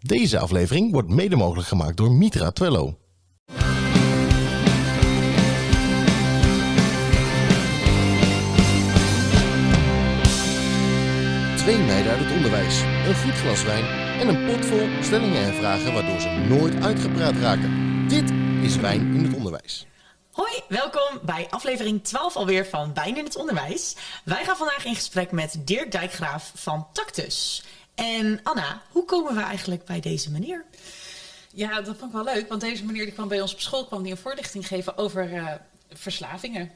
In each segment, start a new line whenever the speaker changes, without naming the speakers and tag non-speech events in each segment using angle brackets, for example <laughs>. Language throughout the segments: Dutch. Deze aflevering wordt mede mogelijk gemaakt door Mitra Twello. Twee meiden uit het onderwijs, een goed glas wijn en een pot vol stellingen en vragen waardoor ze nooit uitgepraat raken. Dit is Wijn in het Onderwijs.
Hoi, welkom bij aflevering 12 alweer van Wijn in het Onderwijs. Wij gaan vandaag in gesprek met Dirk Dijkgraaf van Tactus. En Anna, hoe komen we eigenlijk bij deze meneer?
Ja, dat vond ik wel leuk, want deze meneer die kwam bij ons op school kwam die een voorlichting geven over eh, verslavingen.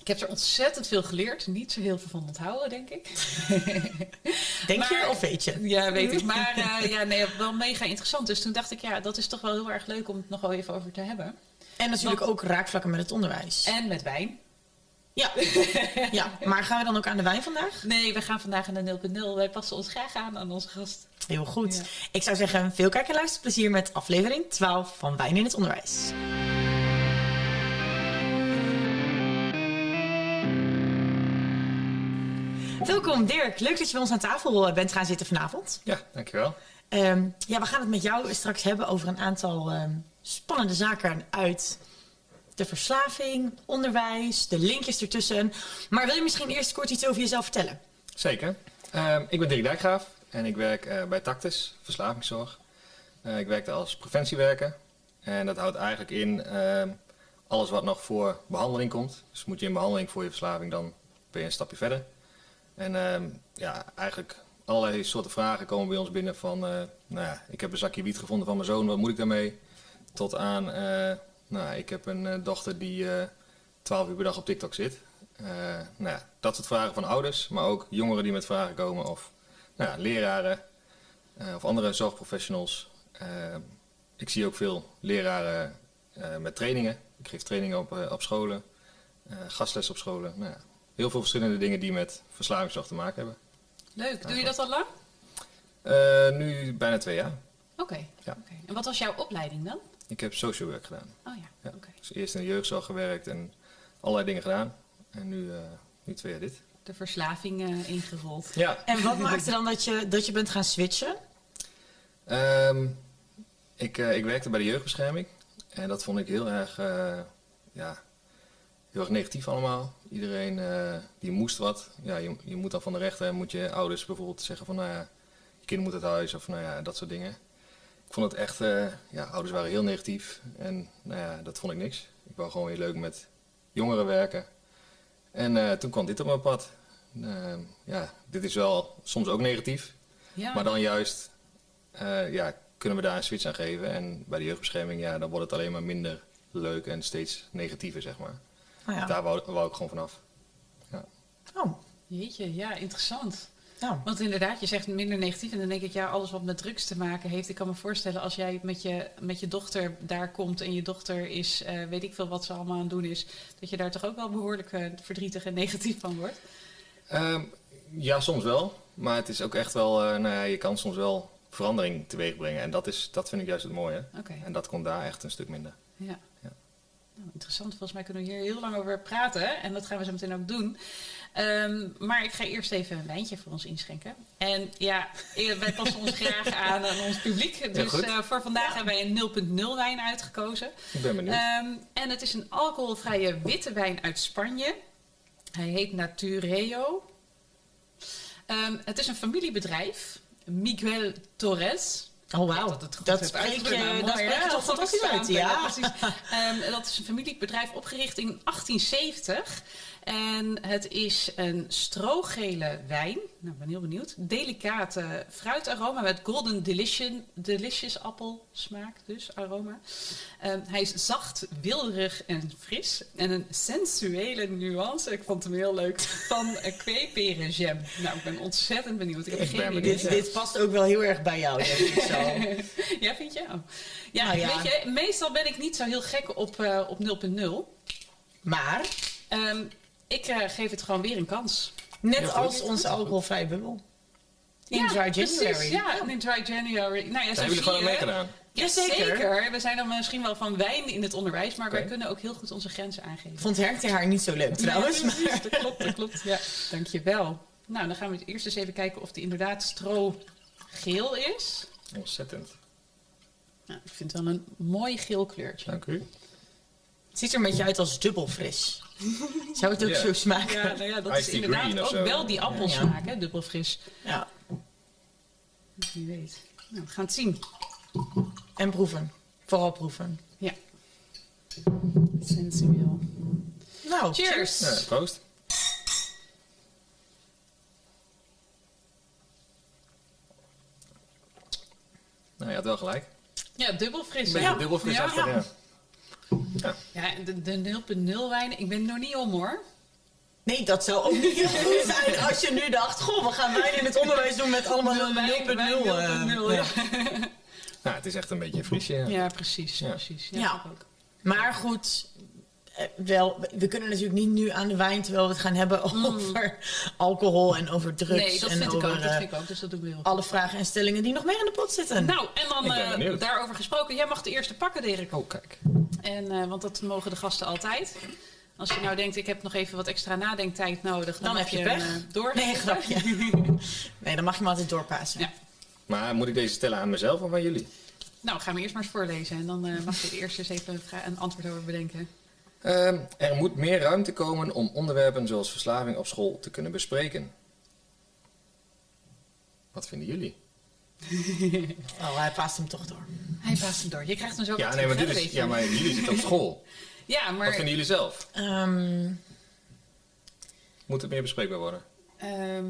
Ik heb er ontzettend veel geleerd, niet zo heel veel van onthouden, denk ik. <laughs>
Denk je
Maar-
of weet je?
Ja, weet ik. Maar eh, ja, nee, wel mega interessant. Dus toen dacht ik, ja, dat is toch wel heel erg leuk om het nog wel even over te hebben.
En natuurlijk
Want-
ook raakvlakken met het onderwijs.
En met wijn.
Ja. ja, maar gaan we dan ook aan de wijn vandaag?
Nee, we gaan vandaag aan de 0.0. Wij passen ons graag aan aan onze gast.
Heel goed.
Ja.
Ik zou zeggen, veel kijk- en luisterplezier met aflevering 12 van Wijn in het Onderwijs. Welkom Dirk, leuk dat je bij ons aan tafel eh, bent gaan zitten vanavond.
Ja, dankjewel.
Ehm, ja, we gaan het met jou straks hebben over een aantal ehm, spannende zaken uit de verslaving, onderwijs, de linkjes ertussen. Maar wil je misschien eerst kort iets over jezelf vertellen?
Zeker. Ehm, ik ben Dirk Dijkgraaf en ik werk eh, bij Tactus, verslavingszorg. Eh, ik werkte als preventiewerker en dat houdt eigenlijk in ehm, alles wat nog voor behandeling komt. Dus moet je in behandeling voor je verslaving, dan ben je een stapje verder. En ehm, ja, eigenlijk allerlei soorten vragen komen bij ons binnen van, eh, nou ja, ik heb een zakje wiet gevonden van mijn zoon, wat moet ik daarmee? Tot aan, eh, nou, ik heb een eh, dochter die twaalf uur per dag op TikTok zit. Eh, nou ja, dat soort vragen van ouders, maar ook jongeren die met vragen komen of nou ja, leraren eh, of andere zorgprofessionals. Eh, ik zie ook veel leraren eh, met trainingen. Ik geef trainingen op, eh, op scholen, eh, gastles op scholen. Nou ja, heel veel verschillende dingen die met verslavingszorg te maken hebben.
Leuk. Doe je
goed.
dat al lang?
Eh, nu bijna twee jaar.
Oké.
Ja.
Oké. En wat was jouw opleiding dan?
Ik heb social work gedaan.
Oh ja,
Ja.
oké.
Dus eerst in de jeugdzorg gewerkt en allerlei dingen gedaan. En nu, eh, nu twee jaar dit.
De verslaving eh, ingerold.
Ja,
En wat maakte dan dat je, dat je bent gaan switchen?
Ehm, ik, eh, ik werkte bij de jeugdbescherming. En dat vond ik heel erg, eh, ja, heel erg negatief allemaal. Iedereen eh, die moest wat. Ja, je, je moet dan van de rechter en moet je ouders bijvoorbeeld zeggen van nou ja, je kind moet het huis of nou ja, dat soort dingen. Ik vond het echt, eh, ja, ouders waren heel negatief. En nou ja, dat vond ik niks. Ik wou gewoon weer leuk met jongeren werken. En eh, toen kwam dit op mijn pad. Ehm, ja, dit is wel soms ook negatief.
Ja.
Maar dan juist eh, ja, kunnen we daar een switch aan geven. En bij de jeugdbescherming, ja, dan wordt het alleen maar minder leuk en steeds negatiever, zeg maar.
Nou ja.
Daar wou, wou ik gewoon vanaf.
Oh,
Jeetje, ja, interessant.
nou.
Want inderdaad, je zegt minder negatief. En dan denk ik, ja, alles wat met drugs te maken heeft. Ik kan me voorstellen als jij met je, met je dochter daar komt en je dochter is, eh, weet ik veel wat ze allemaal aan het doen is. Dat je daar toch ook wel behoorlijk eh, verdrietig en negatief van wordt.
Ehm, ja, soms wel. Maar het is ook echt wel, eh, nou ja, je kan soms wel verandering teweeg brengen. En dat, is, dat vind ik juist het mooie.
Oké,
En dat komt daar echt een stuk minder.
ja.
Ja.
Nou, interessant, volgens mij kunnen we hier heel lang over praten. En dat gaan we zo meteen ook doen. Ehm, maar ik ga eerst even een wijntje voor ons inschenken. En ja, <laughs> eh, wij passen ons graag aan aan ons publiek. Dus
goed.
eh, voor vandaag hebben wij een 0.0 wijn uitgekozen.
Ik ben benieuwd.
Ehm, en het is een alcoholvrije witte wijn uit Spanje. Hij heet Natureo. Ehm, het is een familiebedrijf. Miguel Torres.
Oh, wauw.
het goed
Dat
heb
spreek je,
uitgesproken.
dat
Mooi,
spreek je
hè?
toch
Goed
fantastisch uit,
gesproken,
ja.
precies. <laughs> Ehm, dat is een familiebedrijf opgericht in 1870. En het is een strogele wijn. Nou, ik ben heel benieuwd. Delicate fruitaroma met golden delicious, delicious appel smaak, dus aroma. Ehm, hij is zacht, wilderig en fris. En een sensuele nuance, ik vond hem heel leuk, van eh, kweeperen jam. Nou, ik ben ontzettend benieuwd. Ik heb
Ik
geen
ben
idee.
benieuwd,
Dit, dit past ook wel heel erg bij jou, denk ik zo.
<laughs> Ja, vind je? Oh. Ja,
Nou ja.
weet je, meestal ben ik niet zo heel gek op, eh, op 0.0.
<laughs> Maar,
Ehm, ik eh, geef het gewoon weer een kans.
net
Heel goed.
als onze alcoholvrije bubbel. In
ja,
Dry January. Oh.
Precies, ja, in Dry January. Nou ja, zo
Daar hebben jullie
zie
gewoon
je.
aan meegedaan.
Ja,
Jazeker.
zeker. We zijn dan misschien wel van wijn in het onderwijs, maar wij
Oké.
kunnen ook heel goed onze grenzen aangeven.
Ik vond Herkte haar niet zo leuk trouwens.
Nee, precies, dat klopt, dat klopt. Ja. Dankjewel. Nou, dan gaan we eerst eens even kijken of die inderdaad strogeel is.
Ontzettend.
Nou, ik vind het wel een mooi geel kleurtje.
Dank u.
Het ziet er een beetje uit als dubbel
<laughs>
fris. Zou het ook
Ja.
zo smaken?
Ja, nou ja, dat
Ice
is
tea
inderdaad
green of
ook
zo.
wel die appelsmaak, hè, dubbel fris.
Ja.
Wie weet. Nou, we gaan het zien.
En proeven. Vooral proeven.
Ja. Sensueel.
Nou,
Cheers!
Ja, proost. Nou, je had wel gelijk.
Ja, dubbel fris.
Beetje
ja.
dubbel fris
ja.
achter, ja.
Ja, en de, de 0.0 wijn, ik ben er nog niet om hoor.
Nee, dat zou ook niet heel goed zijn als je nu dacht... Goh, we gaan wijn in het onderwijs doen met allemaal 0.0.
Nul wijn, wijn,
eh,
0.0, ja.
Nou, het is echt een beetje een friesje. Ja.
Ja, precies.
Ja.
precies. Ja,
Ja.
ik ook.
Maar goed, eh, wel, we kunnen natuurlijk niet nu aan de wijn... terwijl we het gaan hebben over alcohol en over drugs.
Hmm. Nee, dat
en
vind ik
over,
ook. Dat
eh,
vind ik ook, dus dat doen we heel goed.
alle vragen en stellingen die nog meer in de pot zitten.
Nou, en dan
Ik ben
eh,
benieuwd.
daarover gesproken. Jij mag de eerste pakken, Dirk.
Oh, kijk.
En, eh, want dat mogen de gasten altijd. Als je nou denkt, ik heb nog even wat extra nadenktijd nodig, dan,
Dan
mag
heb je
hem,
pech.
eh, door.
<laughs> Nee,
<laughs>
grapje. Nee, dan mag je me altijd doorpassen.
Ja.
Maar moet ik deze stellen aan mezelf of aan jullie?
Nou, gaan we eerst maar eens voorlezen. En dan <laughs> eh, mag je er eerst eens even een vra- een antwoord over bedenken.
Ehm, er moet meer ruimte komen om onderwerpen zoals verslaving op school te kunnen bespreken. Wat vinden jullie?
Oh, hij paast hem toch door.
Hij paast hem door. Je krijgt hem zo
Ja,
weer
nee, maar,
terug,
dit
hè,
is,
weet je.
ja, maar jullie zitten op
<laughs>
school.
Ja, maar...
Wat vinden jullie zelf?
Ehm,
Moet het meer bespreekbaar worden?
ehm,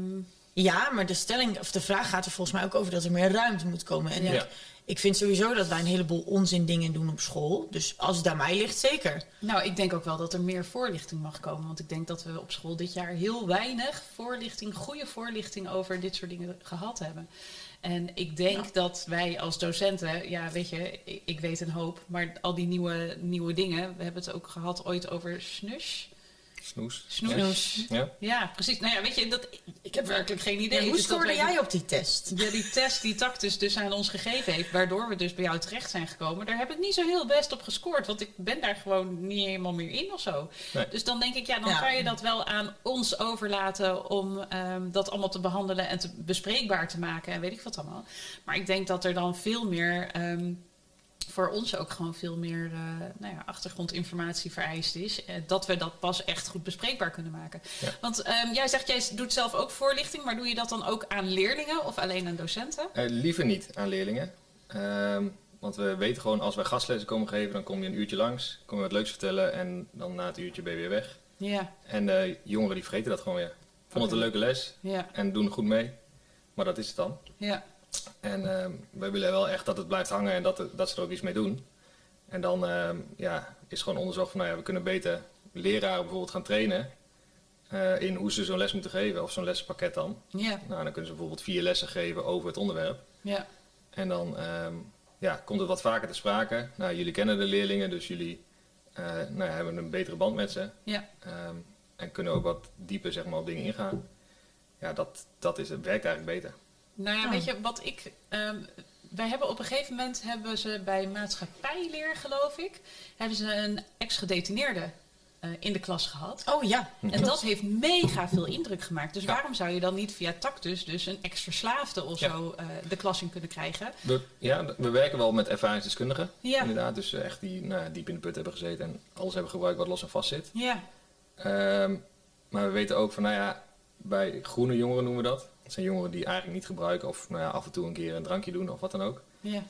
ja, maar de stelling of de vraag gaat er volgens mij ook over dat er meer ruimte moet komen. En
Ja.
ik, ik vind sowieso dat wij een heleboel onzin dingen doen op school. Dus als het aan mij ligt, zeker.
nou, ik denk ook wel dat er meer voorlichting mag komen. Want ik denk dat we op school dit jaar heel weinig voorlichting, goede voorlichting over dit soort dingen gehad hebben. En ik denk dat wij als docenten, ja, weet je, ik, ik weet een hoop, maar al die nieuwe, nieuwe dingen, we hebben het ook gehad ooit over snus.
Snoes.
Snoes.
Ja. Ja.
Ja, precies. Nou ja, weet je, dat, ik heb werkelijk geen idee.
En hoe
Dus dat
scoorde
wij-
jij op die test?
Ja, die test die Tactus dus aan ons gegeven heeft, waardoor we dus bij jou terecht zijn gekomen, daar heb ik niet zo heel best op gescoord, want ik ben daar gewoon niet helemaal meer in of zo.
Nee.
Dus dan denk ik, ja, dan
Ja.
kan je dat wel aan ons overlaten om ehm, dat allemaal te behandelen en te bespreekbaar te maken en weet ik wat allemaal. Maar ik denk dat er dan veel meer, ehm, voor ons ook gewoon veel meer eh, nou ja, achtergrondinformatie vereist is, eh, dat we dat pas echt goed bespreekbaar kunnen maken.
Ja.
Want ehm, jij zegt, jij doet zelf ook voorlichting, maar doe je dat dan ook aan leerlingen of alleen aan docenten?
Eh, liever niet aan leerlingen. Ehm, want we weten gewoon, als wij gastlessen komen geven, dan kom je een uurtje langs, kom je wat leuks vertellen en dan na het uurtje ben je weer weg.
Ja,
En de jongeren die vergeten dat gewoon weer. Vonden het een leuke les
ja,
en doen er goed mee, maar dat is het dan.
ja.
En ehm, wij willen wel echt dat het blijft hangen en dat, het- dat ze er ook iets mee doen. En dan ehm, ja, is gewoon onderzocht van, nou ja, we kunnen beter leraren bijvoorbeeld gaan trainen eh, in hoe ze zo'n les moeten geven, of zo'n lessenpakket dan.
Ja,
Nou, dan kunnen ze bijvoorbeeld vier lessen geven over het onderwerp.
ja,
En dan ehm, ja, komt het wat vaker te sprake. Nou, jullie kennen de leerlingen, dus jullie eh, nou, ja, hebben een betere band met ze.
ja.
Ehm, en kunnen ook wat dieper zeg maar, op dingen ingaan. Ja, dat, dat is, het werkt eigenlijk beter.
Nou ja,
Ja.
Oh.
weet je wat ik. ehm, wij hebben op een gegeven moment hebben ze bij maatschappijleer, geloof ik, hebben ze een ex-gedetineerde eh, in de klas gehad.
Oh ja.
En dat heeft mega veel indruk gemaakt. Dus waarom zou je dan niet via tactus dus een ex-verslaafde of
Ja.
zo eh, de klas in kunnen krijgen?
We, ja, d- we werken wel met ervaringsdeskundigen.
Ja.
Inderdaad, dus eh, echt die nou, ja, diep in de put hebben gezeten en alles hebben gebruikt wat los en vast zit.
Ja,
Ehm, maar we weten ook van, nou ja, bij groene jongeren noemen we dat. Dat zijn jongeren die eigenlijk niet gebruiken of nou ja, af en toe een keer een drankje doen of wat dan ook.
ja,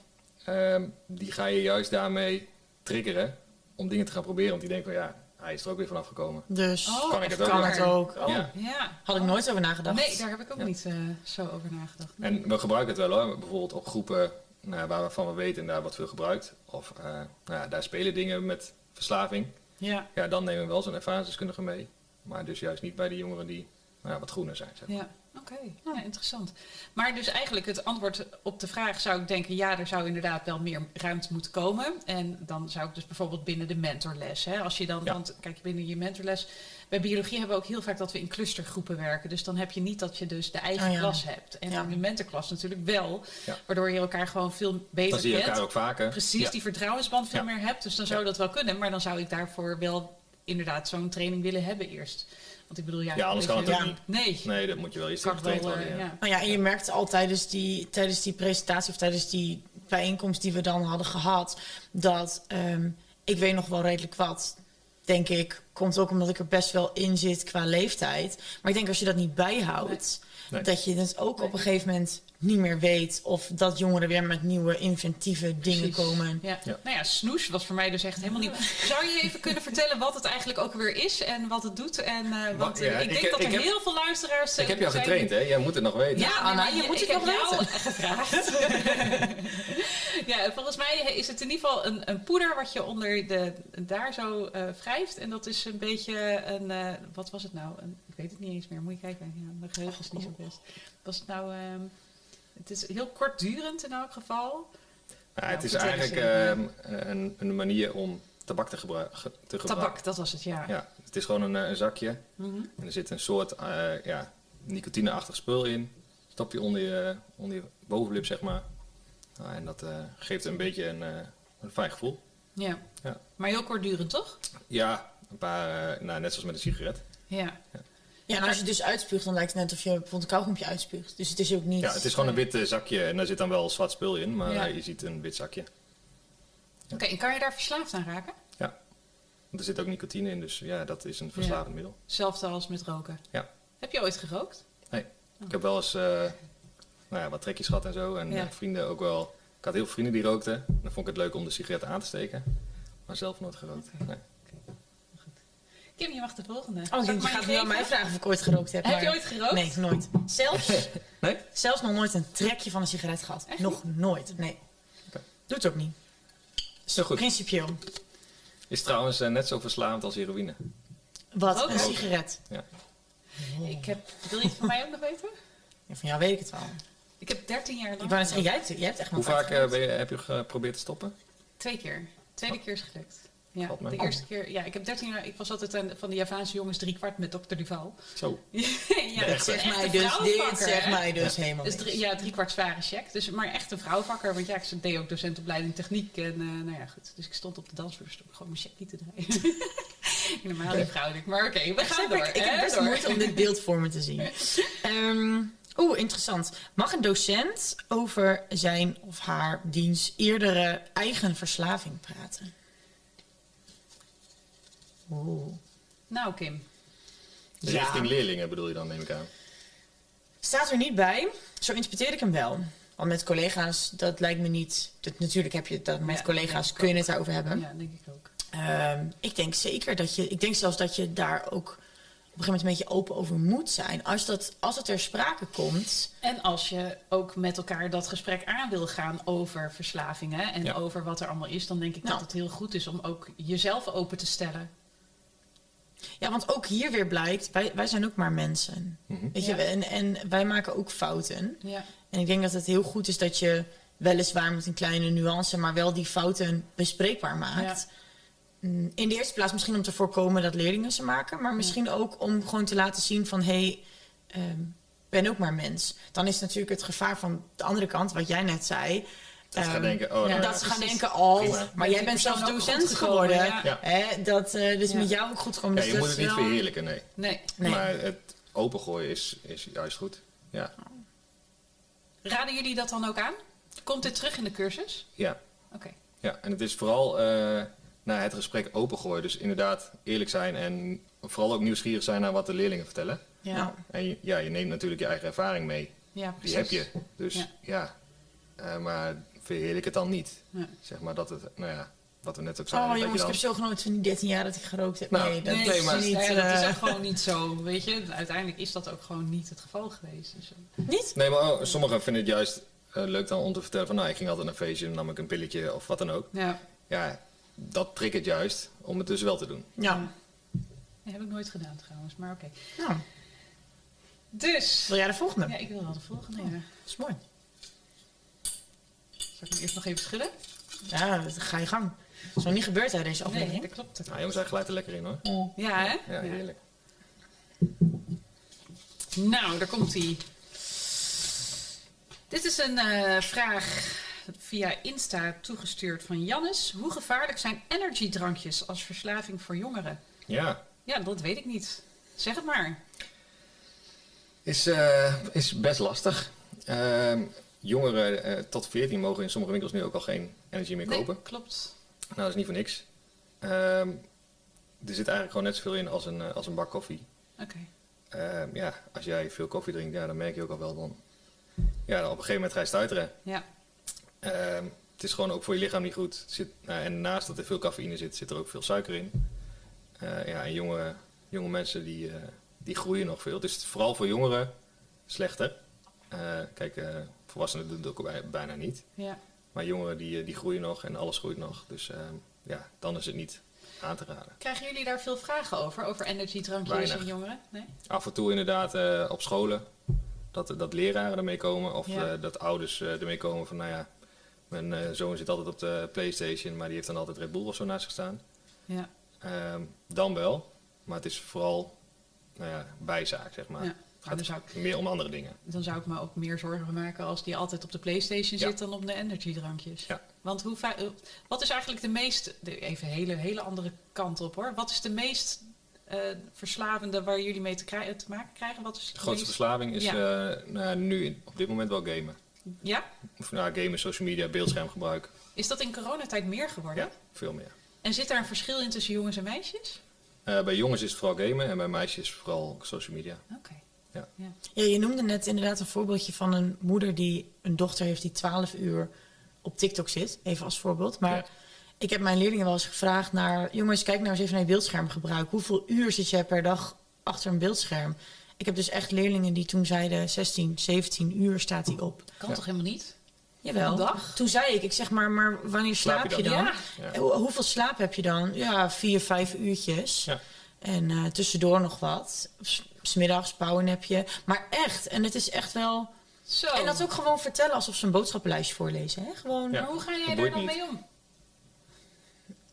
Ehm, die ga je juist daarmee triggeren om dingen te gaan proberen. Want die denken van, ja, hij is er ook weer vanaf gekomen.
Dus
Oh,
kan ik het ook
kan
weer?
het ook. Oh,
Ja.
ja.
Had ik nooit over nagedacht.
Nee, daar heb ik ook
Ja.
niet eh, zo over nagedacht. Nee.
En we gebruiken het wel hoor. Bijvoorbeeld op groepen nou, waarvan we weten daar wordt veel gebruikt. Of eh, nou, ja, daar spelen dingen met verslaving.
Ja,
Ja, dan nemen we wel zo'n ervaringsdeskundige mee. Maar dus juist niet bij de jongeren die nou, ja, wat groener zijn. Zeg. maar.
Ja, oké. Ja, interessant. Maar dus eigenlijk het antwoord op de vraag zou ik denken... ja, er zou inderdaad wel meer ruimte moeten komen. En dan zou ik dus bijvoorbeeld binnen de mentorles... Hè, als je dan,
Ja.
want kijk, binnen je mentorles... bij biologie hebben we ook heel vaak dat we in clustergroepen werken. Dus dan heb je niet dat je dus de eigen
Ah, ja.
klas hebt. En
Ja.
in de mentorklas natuurlijk wel.
Oh Ja.
Waardoor je elkaar gewoon veel beter
Dan zie je
kent.
elkaar ook vaker.
Precies,
Ja.
die vertrouwensband veel
Ja.
meer hebt. Dus dan zou
Ja.
dat wel kunnen. Maar dan zou ik daarvoor wel inderdaad zo'n training willen hebben eerst. Want ik bedoel, ja,
Ja, anders
weet
kan
je-
het ook
Ja.
niet.
Nee,
Nee, dat moet je wel iets
kan
tegen
het wel,
getraind
eh,
worden. ja.
ja.
Nou ja, en je merkt al tijdens die, tijdens die presentatie of tijdens die bijeenkomst die we dan hadden gehad, dat ehm, ik weet nog wel redelijk wat, denk ik. Komt ook omdat ik er best wel in zit qua leeftijd. Maar ik denk als je dat niet bijhoudt,
Nee.
dat je het ook
Nee.
op een gegeven moment niet meer weet of dat jongeren weer met nieuwe inventieve dingen
Precies.
komen.
Ja.
Ja.
Nou ja, snoes was voor mij dus echt helemaal niet. Zou je even kunnen vertellen wat het eigenlijk ook weer is en wat het doet? En, eh, want eh,
ja,
ik denk
ik-
dat
ik
er
heb-
heel veel luisteraars. eh,
Ik heb jou
zijn-
getraind, hè? Jij moet het nog weten.
Ja, Anna,
je moet
ik
het
heb
nog
jou
weten.
<laughs> gevraagd. ja, volgens mij is het in ieder geval een, een poeder wat je onder de daar zo eh, wrijft. En dat is een beetje een, eh, wat was het nou? Een, ik weet het niet eens meer, moet je kijken. Ja, mijn geheugen is niet zo best. Was het nou, ehm, het is heel kortdurend in elk geval.
Ja, het is
Nou, goed,
eigenlijk
dat is,
ehm, een, een manier om tabak te, gebruiken. te gebruiken.
Tabak, dat was het, ja.
Ja, het is gewoon een, eh, een zakje.
Mhm.
En er zit een soort eh, ja, nicotineachtig spul in. Stop je onder je, onder je bovenlip, zeg maar. Nou, en dat eh, geeft een beetje een, eh, een fijn gevoel.
Ja.
Ja.
Maar heel kortdurend, toch?
Ja, een paar, eh, nou, net zoals met een sigaret.
Ja.
Ja, en als je het dus uitspuugt, dan lijkt het net of je bijvoorbeeld een kauwgompje uitspuugt. Dus het is ook niet...
Ja, het is gewoon een wit eh, zakje en daar zit dan wel zwart spul in, maar
Ja.
eh, je ziet een wit zakje.
Oké, en kan je daar verslaafd aan raken?
Ja, want er zit ook nicotine in, dus ja, dat is een verslavend middel.
Hetzelfde als met roken.
Ja,
Heb je ooit gerookt?
nee. Ik heb wel eens eh, nou ja, wat trekjes gehad en zo. En
Ja.
eh, vrienden ook wel. Ik had heel veel vrienden die rookten. Dan vond ik het leuk om de sigaret aan te steken. Maar zelf nooit gerookt.
Oké.
Nee.
Kim, je mag de volgende.
Oh,
Zal
je
ik maar
gaat
je
nu aan
geven?
mij vragen of ik ooit gerookt heb.
Heb
maar-
je ooit gerookt?
Nee, nooit. Zelfs...
<laughs> Nee?
Zelfs nog nooit een trekje van een sigaret gehad.
Echt
nog nooit, nee.
Oké.
Doe het ook niet.
Zo goed.
Principieel.
Is trouwens eh, net zo verslavend als heroïne.
Wat?
Roken.
Een sigaret.
Ja.
Ik heb, wil je het van mij ook nog weten?
Ja, van jou weet ik het wel.
Ik heb 13 jaar lang.
Ik wou net zeggen, jij hebt, jij hebt echt
Hoe
nog
vaak
nooit
eh, ben je, heb je geprobeerd te stoppen?
Twee keer. Tweede keer is gelukt. Ja,
Valt mee.
de
Oh.
eerste keer. Ja, ik heb 13 jaar. Ik was altijd aan, van de Javaanse jongens driekwart met dokter Duval. <laughs>
Zo.
ja,
echte.
gerookt.
echt een
Mij dus, dit
vrouwenvakker,
zegt
hè?
mij dus helemaal
Dus drie,
niks.
ja, drie kwart zware check. Dus, maar echt een vrouwvakker. Want ja, ik deed ook docentenopleiding techniek. En eh, nou ja, goed. Dus ik stond op de dansvloer. dus stond ik gewoon mijn check niet te draaien. <laughs> Normaal niet vrouwelijk. Maar oké, we
Ik
gaan
heb
door.
echt- ik heb
hè,
best
door.
moeite om dit beeld voor me te zien.
<laughs>
Ehm, Oeh, interessant. Mag een docent over zijn of haar dienst eerdere eigen verslaving praten? Oeh.
Nou, Kim.
Ja.
Dus Richting leerlingen bedoel je dan, neem ik aan.
Staat er niet bij. Zo interpreteer ik hem wel. Want met collega's, dat lijkt me niet. Dat, natuurlijk heb je het dat met
Ja,
collega's,
denk ik
kun je het daarover hebben.
Ja, denk ik ook.
Ehm, ik denk zeker dat je. Ik denk zelfs dat je daar ook op een gegeven moment een beetje open over moet zijn. Als, dat, als het ter sprake komt.
En als je ook met elkaar dat gesprek aan wil gaan over verslavingen en
Ja.
over wat er allemaal is, dan denk ik
Nou.
dat het heel goed is om ook jezelf open te stellen.
Ja, want ook hier weer blijkt, wij, wij zijn ook maar mensen.
Mhm.
Weet je,
Ja.
en, en wij maken ook fouten.
Ja.
En ik denk dat het heel goed is dat je weliswaar met een kleine nuance, maar wel die fouten bespreekbaar maakt. Mm, In de eerste plaats misschien om te voorkomen dat leerlingen ze maken, maar misschien ook om gewoon te laten zien van hé, hey, ehm, ik ben ook maar mens. Dan is natuurlijk het gevaar van de andere kant, wat jij net zei.
Dat ze gaan
ehm,
denken, oh,
ja,
nou
dat
ja.
ze
precies.
gaan denken, oh,
Prima.
maar
die
jij bent zelf
persoon ook
docent
goed gekomen,
geworden.
ja.
Hè? Dat, eh, dus
Ja.
met jou ook goed gekomen.
Ja,
Dus
je
dat
moet het
is
niet
wel-
verheerlijken, nee.
Nee.
Nee.
Maar het opengooien is, is juist goed. Ja.
Raden jullie dat dan ook aan? Komt dit terug in de cursus?
ja.
Oké.
Ja, en het is vooral eh, naar het gesprek opengooien. Dus inderdaad eerlijk zijn en vooral ook nieuwsgierig zijn naar wat de leerlingen vertellen.
Ja.
Nou,
En je- ja, je neemt natuurlijk je eigen ervaring mee.
ja,
Die
precies.
heb je. Dus
Ja.
ja, Eh, maar verheerlijk het dan niet.
Ja.
Zeg maar dat het, nou ja, wat we net ook zeiden.
Oh
dat je
jongens, ik
dan-
heb zo genoten van die 13 jaar dat ik gerookt heb.
Nou,
nee, dat
nee,
is
maar,
niet...
nee, dat is
eh,
ook gewoon niet zo, weet je. Uiteindelijk is dat ook gewoon niet het geval geweest. Dus, eh,
Niet?
Nee, maar oh, sommigen vinden het juist eh, leuk dan om te vertellen van, nou, ik ging altijd naar een feestje, dan nam ik een pilletje of wat dan ook.
ja,
Ja, dat triggert juist om het dus wel te doen.
Ja.
dat heb ik nooit gedaan trouwens, maar oké.
Nou,
Dus,
wil jij de volgende?
ja, ik wil wel de volgende. Ja.
Dat is mooi.
Zal ik hem eerst nog even schudden?
Ja, dat ga je gang. Dat is nog niet gebeurd tijdens deze
Nee,
aflevering.
dat klopt.
Nou jongens, hij glijdt er lekker in hoor.
Ja, hè?
Ja, heerlijk.
Nou, daar komt hij. Dit is een eh, vraag via Insta toegestuurd van Jannes. Hoe gevaarlijk zijn energiedrankjes als verslaving voor jongeren?
Ja,
Ja, dat weet ik niet. Zeg het maar.
Is, eh, is best lastig. Ehm, jongeren eh, tot 14 mogen in sommige winkels nu ook al geen energy meer kopen.
Nee, klopt.
Nou, dat is niet voor niks. Ehm, er zit eigenlijk gewoon net zoveel in als een, eh, als een bak koffie.
Oké.
Ehm, ja, als jij veel koffie drinkt, ja, dan merk je ook al wel dan. Ja, dan op een gegeven moment ga je stuiteren.
Ja.
Ehm, het is gewoon ook voor je lichaam niet goed. Er Zit, nou, en naast dat er veel cafeïne zit, zit er ook veel suiker in. Eh, ja, en jonge, jonge mensen die, eh, die groeien nog veel. Dus vooral voor jongeren slechter. Eh, kijk, eh, volwassenen doen het ook bij- bijna niet.
Ja.
Maar jongeren die, eh, die groeien nog en alles groeit nog. Dus ehm, ja, dan is het niet aan te raden.
Krijgen jullie daar veel vragen over? Over energiedrankjes
Weinig.
en jongeren? Nee?
Af en toe inderdaad eh, op scholen dat, dat leraren ermee komen. Of
Ja.
eh, dat ouders eh, ermee komen van nou ja, mijn eh, zoon zit altijd op de Playstation, maar die heeft dan altijd Red Bull of zo naast zich staan.
Ja.
Ehm, dan wel, maar het is vooral nou ja, bijzaak, zeg maar.
Ja,
Het gaat
dan zou ik-
meer om andere dingen.
Dan zou ik me ook meer zorgen maken als die altijd op de Playstation
Ja.
zit dan op de energiedrankjes.
Ja.
Want hoe va- eh, wat is eigenlijk de meest, de- even een hele, hele andere kant op hoor. Wat is de meest eh, verslavende waar jullie mee te, krij- eh, te maken krijgen? Wat is het
De grootste
meest-
verslaving is
Ja.
eh, nou ja, nu in- op dit moment wel gamen.
Ja?
Of nou, gamen, social media, beeldschermgebruik.
Is dat in coronatijd meer geworden?
Ja, veel meer.
En zit daar een verschil in tussen jongens en meisjes?
Eh, bij jongens is het vooral gamen en bij meisjes vooral social media.
Oké.
Ja.
Ja, je noemde net inderdaad een voorbeeldje van een moeder die een dochter heeft die 12 uur op TikTok zit. Even als voorbeeld. Maar
Ja.
ik heb mijn leerlingen wel eens gevraagd naar... jongens, kijk nou eens even naar je beeldschermgebruik. Hoeveel uur zit jij per dag achter een beeldscherm? Ik heb dus echt leerlingen die toen zeiden 16, 17 uur staat hij op.
Kan toch helemaal niet?
Jawel.
Een dag?
Toen zei ik, ik zeg maar, maar wanneer slaap, je dan?
Ja.
En hoe- hoeveel slaap heb je dan? Ja, vier, vijf uurtjes.
Ja.
En eh, tussendoor nog wat. S- Smiddags, pauwenapje. Maar echt, en het is echt wel...
Zo.
En dat ook gewoon vertellen alsof ze een boodschappenlijstje voorlezen. Hè? Gewoon,
Ja.
Maar hoe ga jij
Dat
daar
boeit
dan
niet.
mee om?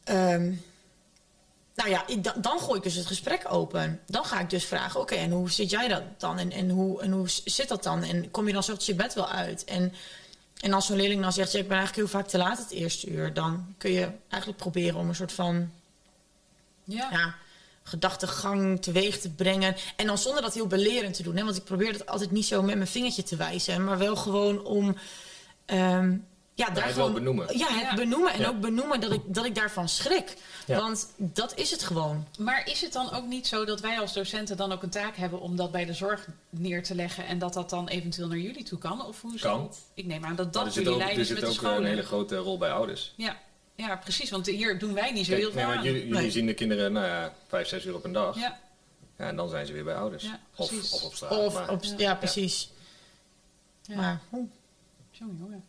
ehm, nou ja, ik, da- dan gooi ik dus het gesprek open. Dan ga ik dus vragen, oké, en hoe zit jij dat dan? En, en, hoe, en hoe s- zit dat dan? En kom je dan zo je bed wel uit? En, en als zo'n leerling dan zegt, ja, ik ben eigenlijk heel vaak te laat het eerste uur... dan kun je eigenlijk proberen om een soort van...
Ja.
ja, gedachtegang teweeg te brengen. En dan zonder dat heel belerend te doen. Hè? Want ik probeer dat altijd niet zo met mijn vingertje te wijzen. Maar wel gewoon om. ehm, ja, daar
het wel
gewoon,
benoemen.
Ja, het
Ja.
benoemen. En
Ja.
ook benoemen dat ik, dat ik daarvan schrik.
Ja.
Want dat is het gewoon.
Maar is het dan ook niet zo dat wij als docenten dan ook een taak hebben om dat bij de zorg neer te leggen en dat dat dan eventueel naar jullie toe kan? Of hoe zit
Kan.
het? Ik neem aan dat
Maar
dat jullie
er
leiders
zit
met de
ook eh, een
scholen.
hele grote rol bij ouders.
Ja. ja, precies, want hier doen wij niet zo
Kijk,
heel veel
nee, want
aan.
jullie, jullie
Nee.
zien de kinderen nou ja, vijf, zes uur op een dag. Ja.
Ja,
en dan zijn ze weer bij ouders.
Ja, precies.
of, of op straat.
of
maar-
op, ja, precies.
Ja.
Maar, hm, oeh.
jongen, jongen.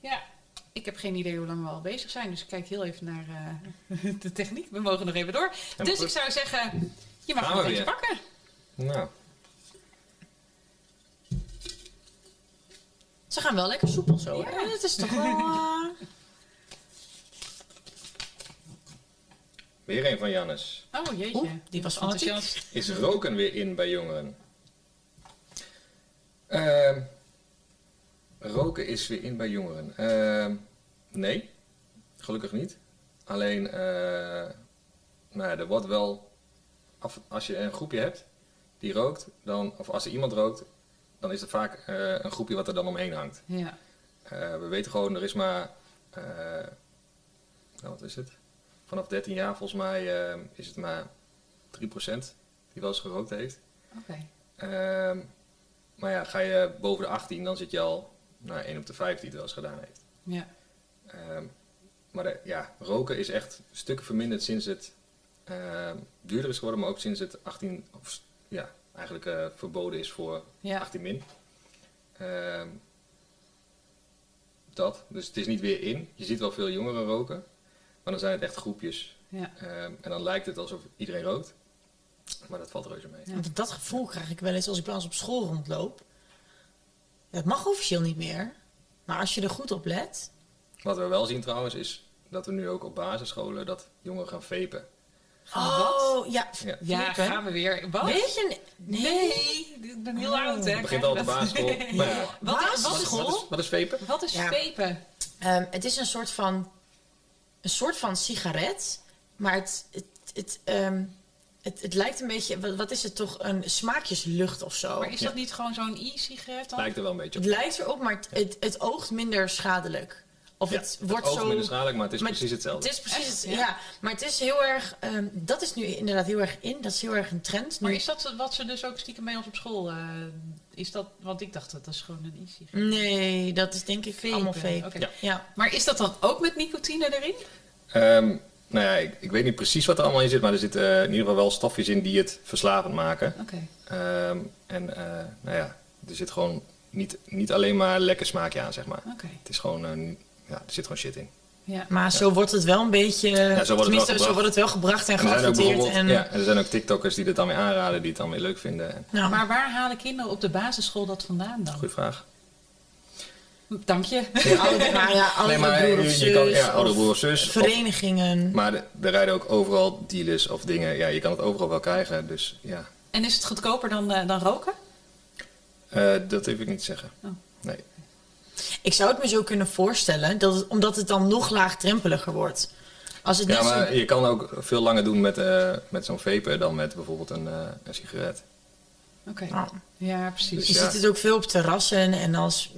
Ja, ik heb geen idee hoe lang we al bezig zijn, dus ik kijk heel even naar eh, <laughs> de techniek. We mogen nog even door.
maar
dus
goed.
ik zou zeggen, je mag
Gaan
nog
we
eentje
weer.
pakken.
Nou,
Ze gaan wel lekker soepel zo.
Ja.
hè? Het is toch
<laughs>
wel. eh,
weer een van Jannes.
Oh jeetje.
Oeh, die was fanatiek.
enthousiast.
Is roken weer in bij jongeren? Ehm, roken is weer in bij jongeren. Ehm, nee, gelukkig niet. Alleen, eh, nou ja, er wordt wel, af- als je een groepje hebt die rookt, dan, of als er iemand rookt, dan is er vaak eh, een groepje wat er dan omheen hangt.
Ja,
Eh, we weten gewoon, er is maar. eh, nou, wat is het? Vanaf 13 jaar, volgens mij, eh, is het maar 3% die wel eens gerookt heeft.
oké.
Ehm, maar ja, ga je boven de 18, dan zit je al nou, 1 op de 5 die het wel eens gedaan heeft.
Ja.
Ehm, maar eh, ja, roken is echt stukken verminderd sinds het ehm, duurder is geworden, maar ook sinds het 18, of ja, eigenlijk eh, verboden is voor
Ja.
18 min. Ehm, dat, dus het is niet weer in. Je ziet wel veel jongeren roken, maar dan zijn het echt groepjes.
Ja.
Ehm, en dan lijkt het alsof iedereen rookt, maar dat valt reuze mee.
Ja.
Want dat gevoel krijg ik wel eens als ik bij ons op school rondloop. Het mag officieel niet meer. Maar als je er goed op let,
Wat we wel zien trouwens is dat we nu ook op basisscholen dat jongeren gaan vapen.
Oh, ja.
Ja.
Ja,
Flippen.
gaan we weer. Wat?
Weet je... Nee.
ik ben heel
Oh.
oud, hè?
Het begint al op de
Kijk,
basisschool.
dat- <laughs>
Maar ja,
Wat,
Basisschool?
is- wat is
wat is, wat is vapen?
Wat is
Ja.
vepen?
Ehm, het is een soort van... Een soort van sigaret. Maar het... het, het ehm, Het, het lijkt een beetje, wat- wat is het toch, een smaakjeslucht of zo.
Maar is dat
Oh, Ja.
niet gewoon zo'n e-sigaret dan?
Lijkt er wel een beetje op.
Het lijkt erop, maar het, het, het oogt minder schadelijk. Of
Ja,
het wordt
oogt
zo...
minder schadelijk, maar het is
maar
precies hetzelfde.
Het is precies,
Echt?
het-
Ja.
ja. Maar het is heel erg, ehm, dat is nu inderdaad heel erg in. Dat is heel erg een trend.
Maar
Nu,
is dat wat ze dus ook stiekem bij ons op school... eh, is dat, want ik dacht dat dat is gewoon een e-sigaret.
Nee, dat is denk ik allemaal fake.
Oké.
Ja.
Ja.
Maar is dat dan ook met nicotine erin?
Ehm, nou ja, ik, ik weet niet precies wat er allemaal in zit, maar er zitten eh, in ieder geval wel stofjes in die het verslavend maken.
Oké.
Ehm, en eh, nou ja, er zit gewoon niet, niet alleen maar lekker smaakje aan, zeg maar.
Oké.
Het is gewoon, eh, niet- ja, er zit gewoon shit in.
Ja.
Maar zo wordt het wel een beetje,
het wel
tenminste zo
gebracht.
wordt het wel gebracht en
En er zijn ook
geadverteerd.
bijvoorbeeld,
En,
ja, en er zijn ook TikTokkers die dit dan weer aanraden, die het dan weer leuk vinden. En-
nou,
Maar waar halen kinderen op de basisschool dat vandaan dan?
Goeie vraag.
Dank je.
oude, maar ja, oude
Nee, maar
broer of
je-
zus,
je kan- ja,
of
oude broer of zus, of-
Verenigingen.
Maar de- er rijden ook overal dealers of dingen. Ja, je kan het overal wel krijgen, dus ja.
<laughs> En is het goedkoper dan, eh, dan roken?
Eh, dat durf ik niet te zeggen. Nee.
Ik zou het me zo kunnen voorstellen, dat het- omdat het dan nog laagdrempeliger wordt. Als het
Ja,
net zo-
maar je kan ook veel langer doen met, eh, met zo'n vapen dan met bijvoorbeeld een, eh, een sigaret.
Oké.
Nou,
Ja,
Dus
precies.
je
ja.
ziet het ook veel op terrassen en als,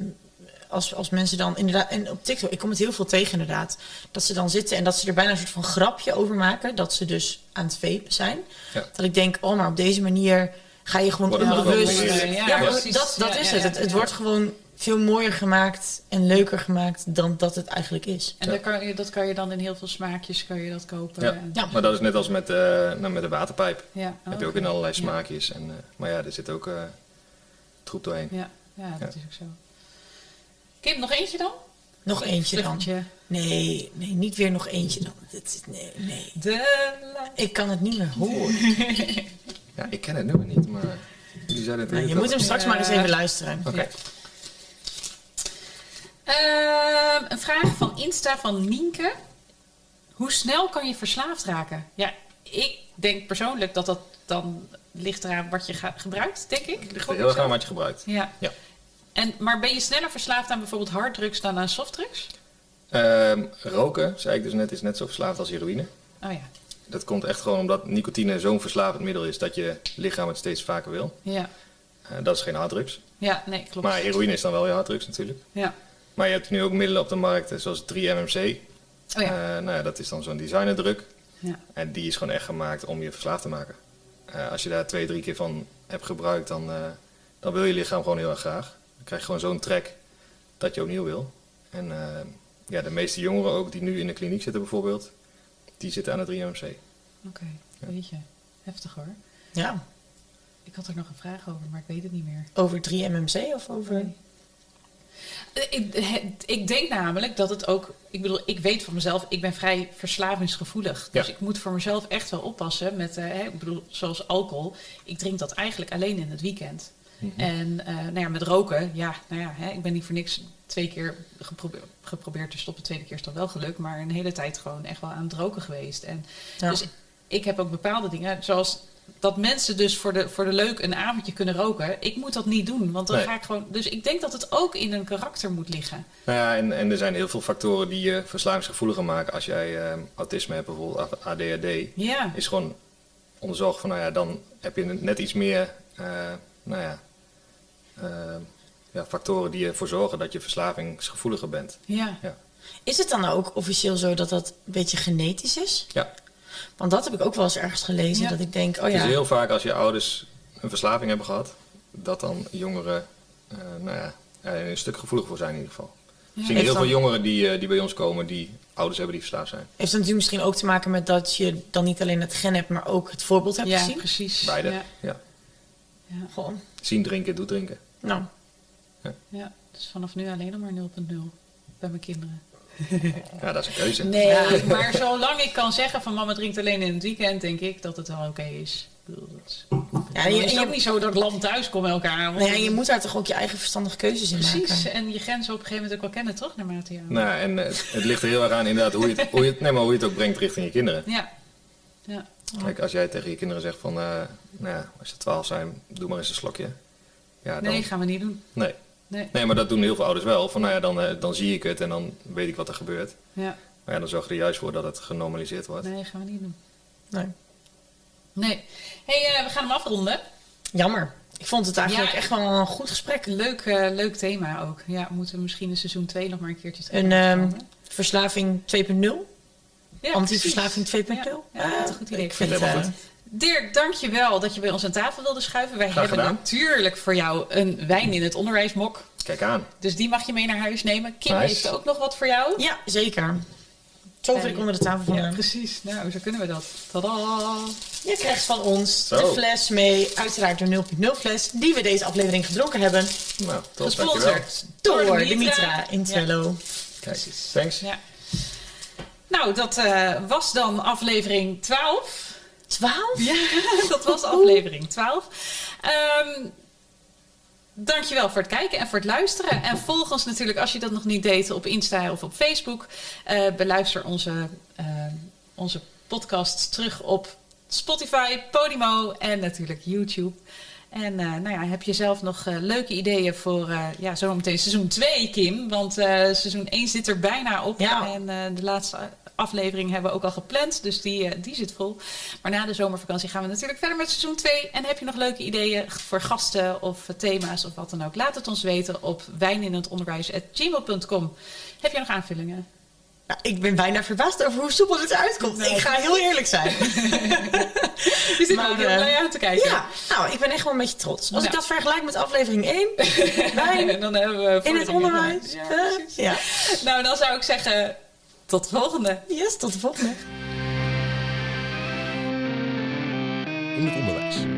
als, als mensen dan inderdaad... En op TikTok, ik kom het heel veel tegen inderdaad. Dat ze dan zitten en dat ze er bijna een soort van grapje over maken. Dat ze dus aan het vapen zijn.
Ja.
Dat ik denk, oh, maar op deze manier ga je gewoon
Wordt het nog wel
onbewust...
meer eerlijk.
Ja,
Ja,
maar
precies.
dat, dat
Ja,
is
ja,
het.
ja,
het. Het
ja.
wordt gewoon veel mooier gemaakt en leuker gemaakt dan dat het eigenlijk is.
En daar kan je, dat kan je dan in heel veel smaakjes kan je dat kopen.
Ja.
En-
Ja.
Maar dat is net als met, eh, nou, met de waterpijp.
Oh, ja.
heb je ook in allerlei smaakjes. En, eh, maar ja, er zit ook eh, troep doorheen.
Ja, ja dat is ook zo. Kim, nog eentje dan?
Nog eentje dan.
Vluchtje.
Nee, nee, niet weer nog eentje dan. Dit is- nee, nee.
De la-
Ik kan het niet meer horen.
Ja, ik ken het nummer niet, maar jullie zeiden het
Nou, je
net
moet hem
al.
straks maar eens even luisteren.
Oké.
Ehm, een vraag van Insta van Nienke. Hoe snel kan je verslaafd raken? Ja, ik denk persoonlijk dat dat dan ligt eraan wat je ga- gebruikt, denk ik.
Ligt er heel erg aan wat je gebruikt.
Ja.
Ja.
En, maar ben je sneller verslaafd aan bijvoorbeeld harddrugs dan aan softdrugs?
Ehm, roken, zei ik dus net, is net zo verslaafd als heroïne.
Oh ja.
Dat komt echt gewoon omdat nicotine zo'n verslavend middel is dat je lichaam het steeds vaker wil.
Ja,
Eh, dat is geen harddrugs.
ja nee, klopt.
Maar heroïne is dan wel je harddrugs natuurlijk.
Ja.
Maar je hebt nu ook middelen op de markt eh, zoals 3-MMC.
Oh ja.
Eh, nou ja, dat is dan zo'n designerdruk.
ja.
En die is gewoon echt gemaakt om je verslaafd te maken. Eh, als je daar twee, drie keer van hebt gebruikt, dan, eh, dan wil je lichaam gewoon heel erg graag. Dan krijg je gewoon zo'n trek dat je opnieuw wil. En eh, ja, de meeste jongeren ook die nu in de kliniek zitten bijvoorbeeld, die zitten aan het 3-MMC.
Oké, weet je. Heftig hoor.
Ja,
Ik had er nog een vraag over, maar ik weet het niet meer.
over 3 MMC of over...
Eh, Ik, ik denk namelijk dat het ook. Ik bedoel, ik weet van mezelf, ik ben vrij verslavingsgevoelig. Dus
Ja.
ik moet voor mezelf echt wel oppassen met. eh, hè, ik bedoel, zoals alcohol. Ik drink dat eigenlijk alleen in het weekend. En eh, nou ja, met roken, ja, nou ja, hè, ik ben niet voor niks twee keer geprobe- geprobeerd te stoppen. Tweede keer is dat wel gelukt, maar een hele tijd gewoon echt wel aan het roken geweest. En
Ja.
dus ik heb ook bepaalde dingen, zoals dat mensen dus voor de, voor de leuk een avondje kunnen roken. Ik moet dat niet doen, want dan
Nee.
ga ik gewoon... Dus ik denk dat het ook in een karakter moet liggen.
Nou ja, en, en er zijn heel veel factoren die je verslavingsgevoeliger maken. Als jij eh, autisme hebt, bijvoorbeeld of ADHD,
Ja,
is gewoon onderzocht van, nou ja, dan heb je net iets meer, eh, nou ja, eh, ja, factoren die ervoor zorgen dat je verslavingsgevoeliger bent.
ja.
Ja.
Is het dan ook officieel zo dat dat een beetje genetisch is?
ja.
Want dat heb ik ook wel eens ergens gelezen.
Ja.
Dat ik denk, oh
Het
ja,
is heel vaak als je ouders een verslaving hebben gehad, dat dan jongeren, eh, nou ja, er een stuk gevoeliger voor zijn in ieder geval. Ik zie
Heeft
heel
dan-
veel jongeren die, eh, die bij ons komen, die ouders hebben die verslaafd zijn.
heeft dat natuurlijk misschien ook te maken met dat je dan niet alleen het gen hebt, maar ook het voorbeeld hebt
Ja,
gezien?
precies.
Beide.
Ja,
ja.
ja,
Gewoon,
Zien drinken, doet drinken.
nou,
ja. Dus vanaf nu alleen nog maar 0.0 bij mijn kinderen.
Ja, dat is een keuze.
nee.
Ja, maar zolang ik kan zeggen van mama drinkt alleen in het weekend, denk ik dat het wel oké is. Ik bedoel, dat is...
Ja,
En
je,
is
en
het
je-
ook niet zo dat ik lam thuis kom elke avond.
nou ja, je moet daar toch ook je eigen verstandige keuzes in maken?
Precies, en je grenzen op een gegeven moment ook wel kennen, toch? Naarmate je...
Nou, ja, en eh, het, het ligt er heel erg aan inderdaad hoe je, het, hoe, je het, nee, maar hoe je het ook brengt richting je kinderen.
Ja. ja.
Kijk, als jij tegen je kinderen zegt van, eh, nou ja, als ze 12 zijn, doe maar eens een slokje. Ja, dan,
Nee, gaan we niet doen.
nee.
Nee.
Nee, maar dat doen heel veel ouders wel. Van, nou ja, dan, eh, dan zie ik het en dan weet ik wat er gebeurt.
Ja.
Maar ja, dan zorg je er juist voor dat het genormaliseerd wordt.
Nee, gaan we niet doen.
Nee.
Nee. hey, eh, we gaan hem afronden.
Jammer. Ik vond het eigenlijk
Ja.
echt wel een goed gesprek.
Leuk, eh, leuk thema ook. Ja, we moeten misschien in seizoen 2 nog maar een keertje terug.
Een
laten
ehm,
komen.
verslaving 2.0.
Ja,
Antiverslaving 2.0.
precies. Ja, ja, dat is een goed idee.
Ik vind het
Helemaal
eh,
Dirk, dankjewel dat je bij ons aan tafel wilde schuiven. Wij
Graag
hebben
gedaan.
natuurlijk voor jou een wijn in het onderwijsmok.
Kijk aan.
Dus die mag je mee naar huis nemen. Kim
Nice.
heeft ook nog wat voor jou.
Ja, zeker. Zo vind ik onder de tafel
Ja,
vandaan.
precies. Nou, zo kunnen we dat. Tadaa.
Je krijgt van ons
Zo.
de fles mee. Uiteraard de 0.0 fles die we deze aflevering gedronken hebben.
Nou, tot dankjewel.
Gesponsord
Door,
door
de Mitra
Mitra.
in Twello.
Kijk, thanks.
Ja. Nou, dat eh, was dan aflevering 12.
12?
Ja, <laughs> dat was aflevering 12. Ehm dankjewel voor het kijken en voor het luisteren. En volg ons natuurlijk, als je dat nog niet deed, op Insta of op Facebook. Eh, beluister onze, eh, onze podcast terug op Spotify, Podimo en natuurlijk YouTube. En eh, nou ja, heb je zelf nog eh, leuke ideeën voor eh ja, zometeen seizoen 2, Kim? Want eh, seizoen 1 zit er bijna op.
Ja.
En eh, de laatste aflevering hebben we ook al gepland, dus die, eh, die zit vol. Maar na de zomervakantie gaan we natuurlijk verder met seizoen 2. En heb je nog leuke ideeën voor gasten of eh, thema's of wat dan ook? Laat het ons weten op wijninhetonderwijs.gmail.com. Heb je nog aanvullingen?
Nou, ik ben bijna verbaasd over hoe soepel dit uitkomt. Ik ga heel eerlijk zijn.
<laughs> Die zit
Maar,
ook heel
eh,
blij aan te kijken.
Ja, nou, ik ben echt wel een beetje trots. Als
Ja.
ik dat vergelijk met aflevering
<laughs>
1, wij
En dan hebben we
in het
vorderingen
onderwijs.
gemaakt.
eh,
Ja, precies.
ja.
Nou, dan zou ik zeggen, tot de volgende.
Yes, tot de volgende.
in het onderwijs.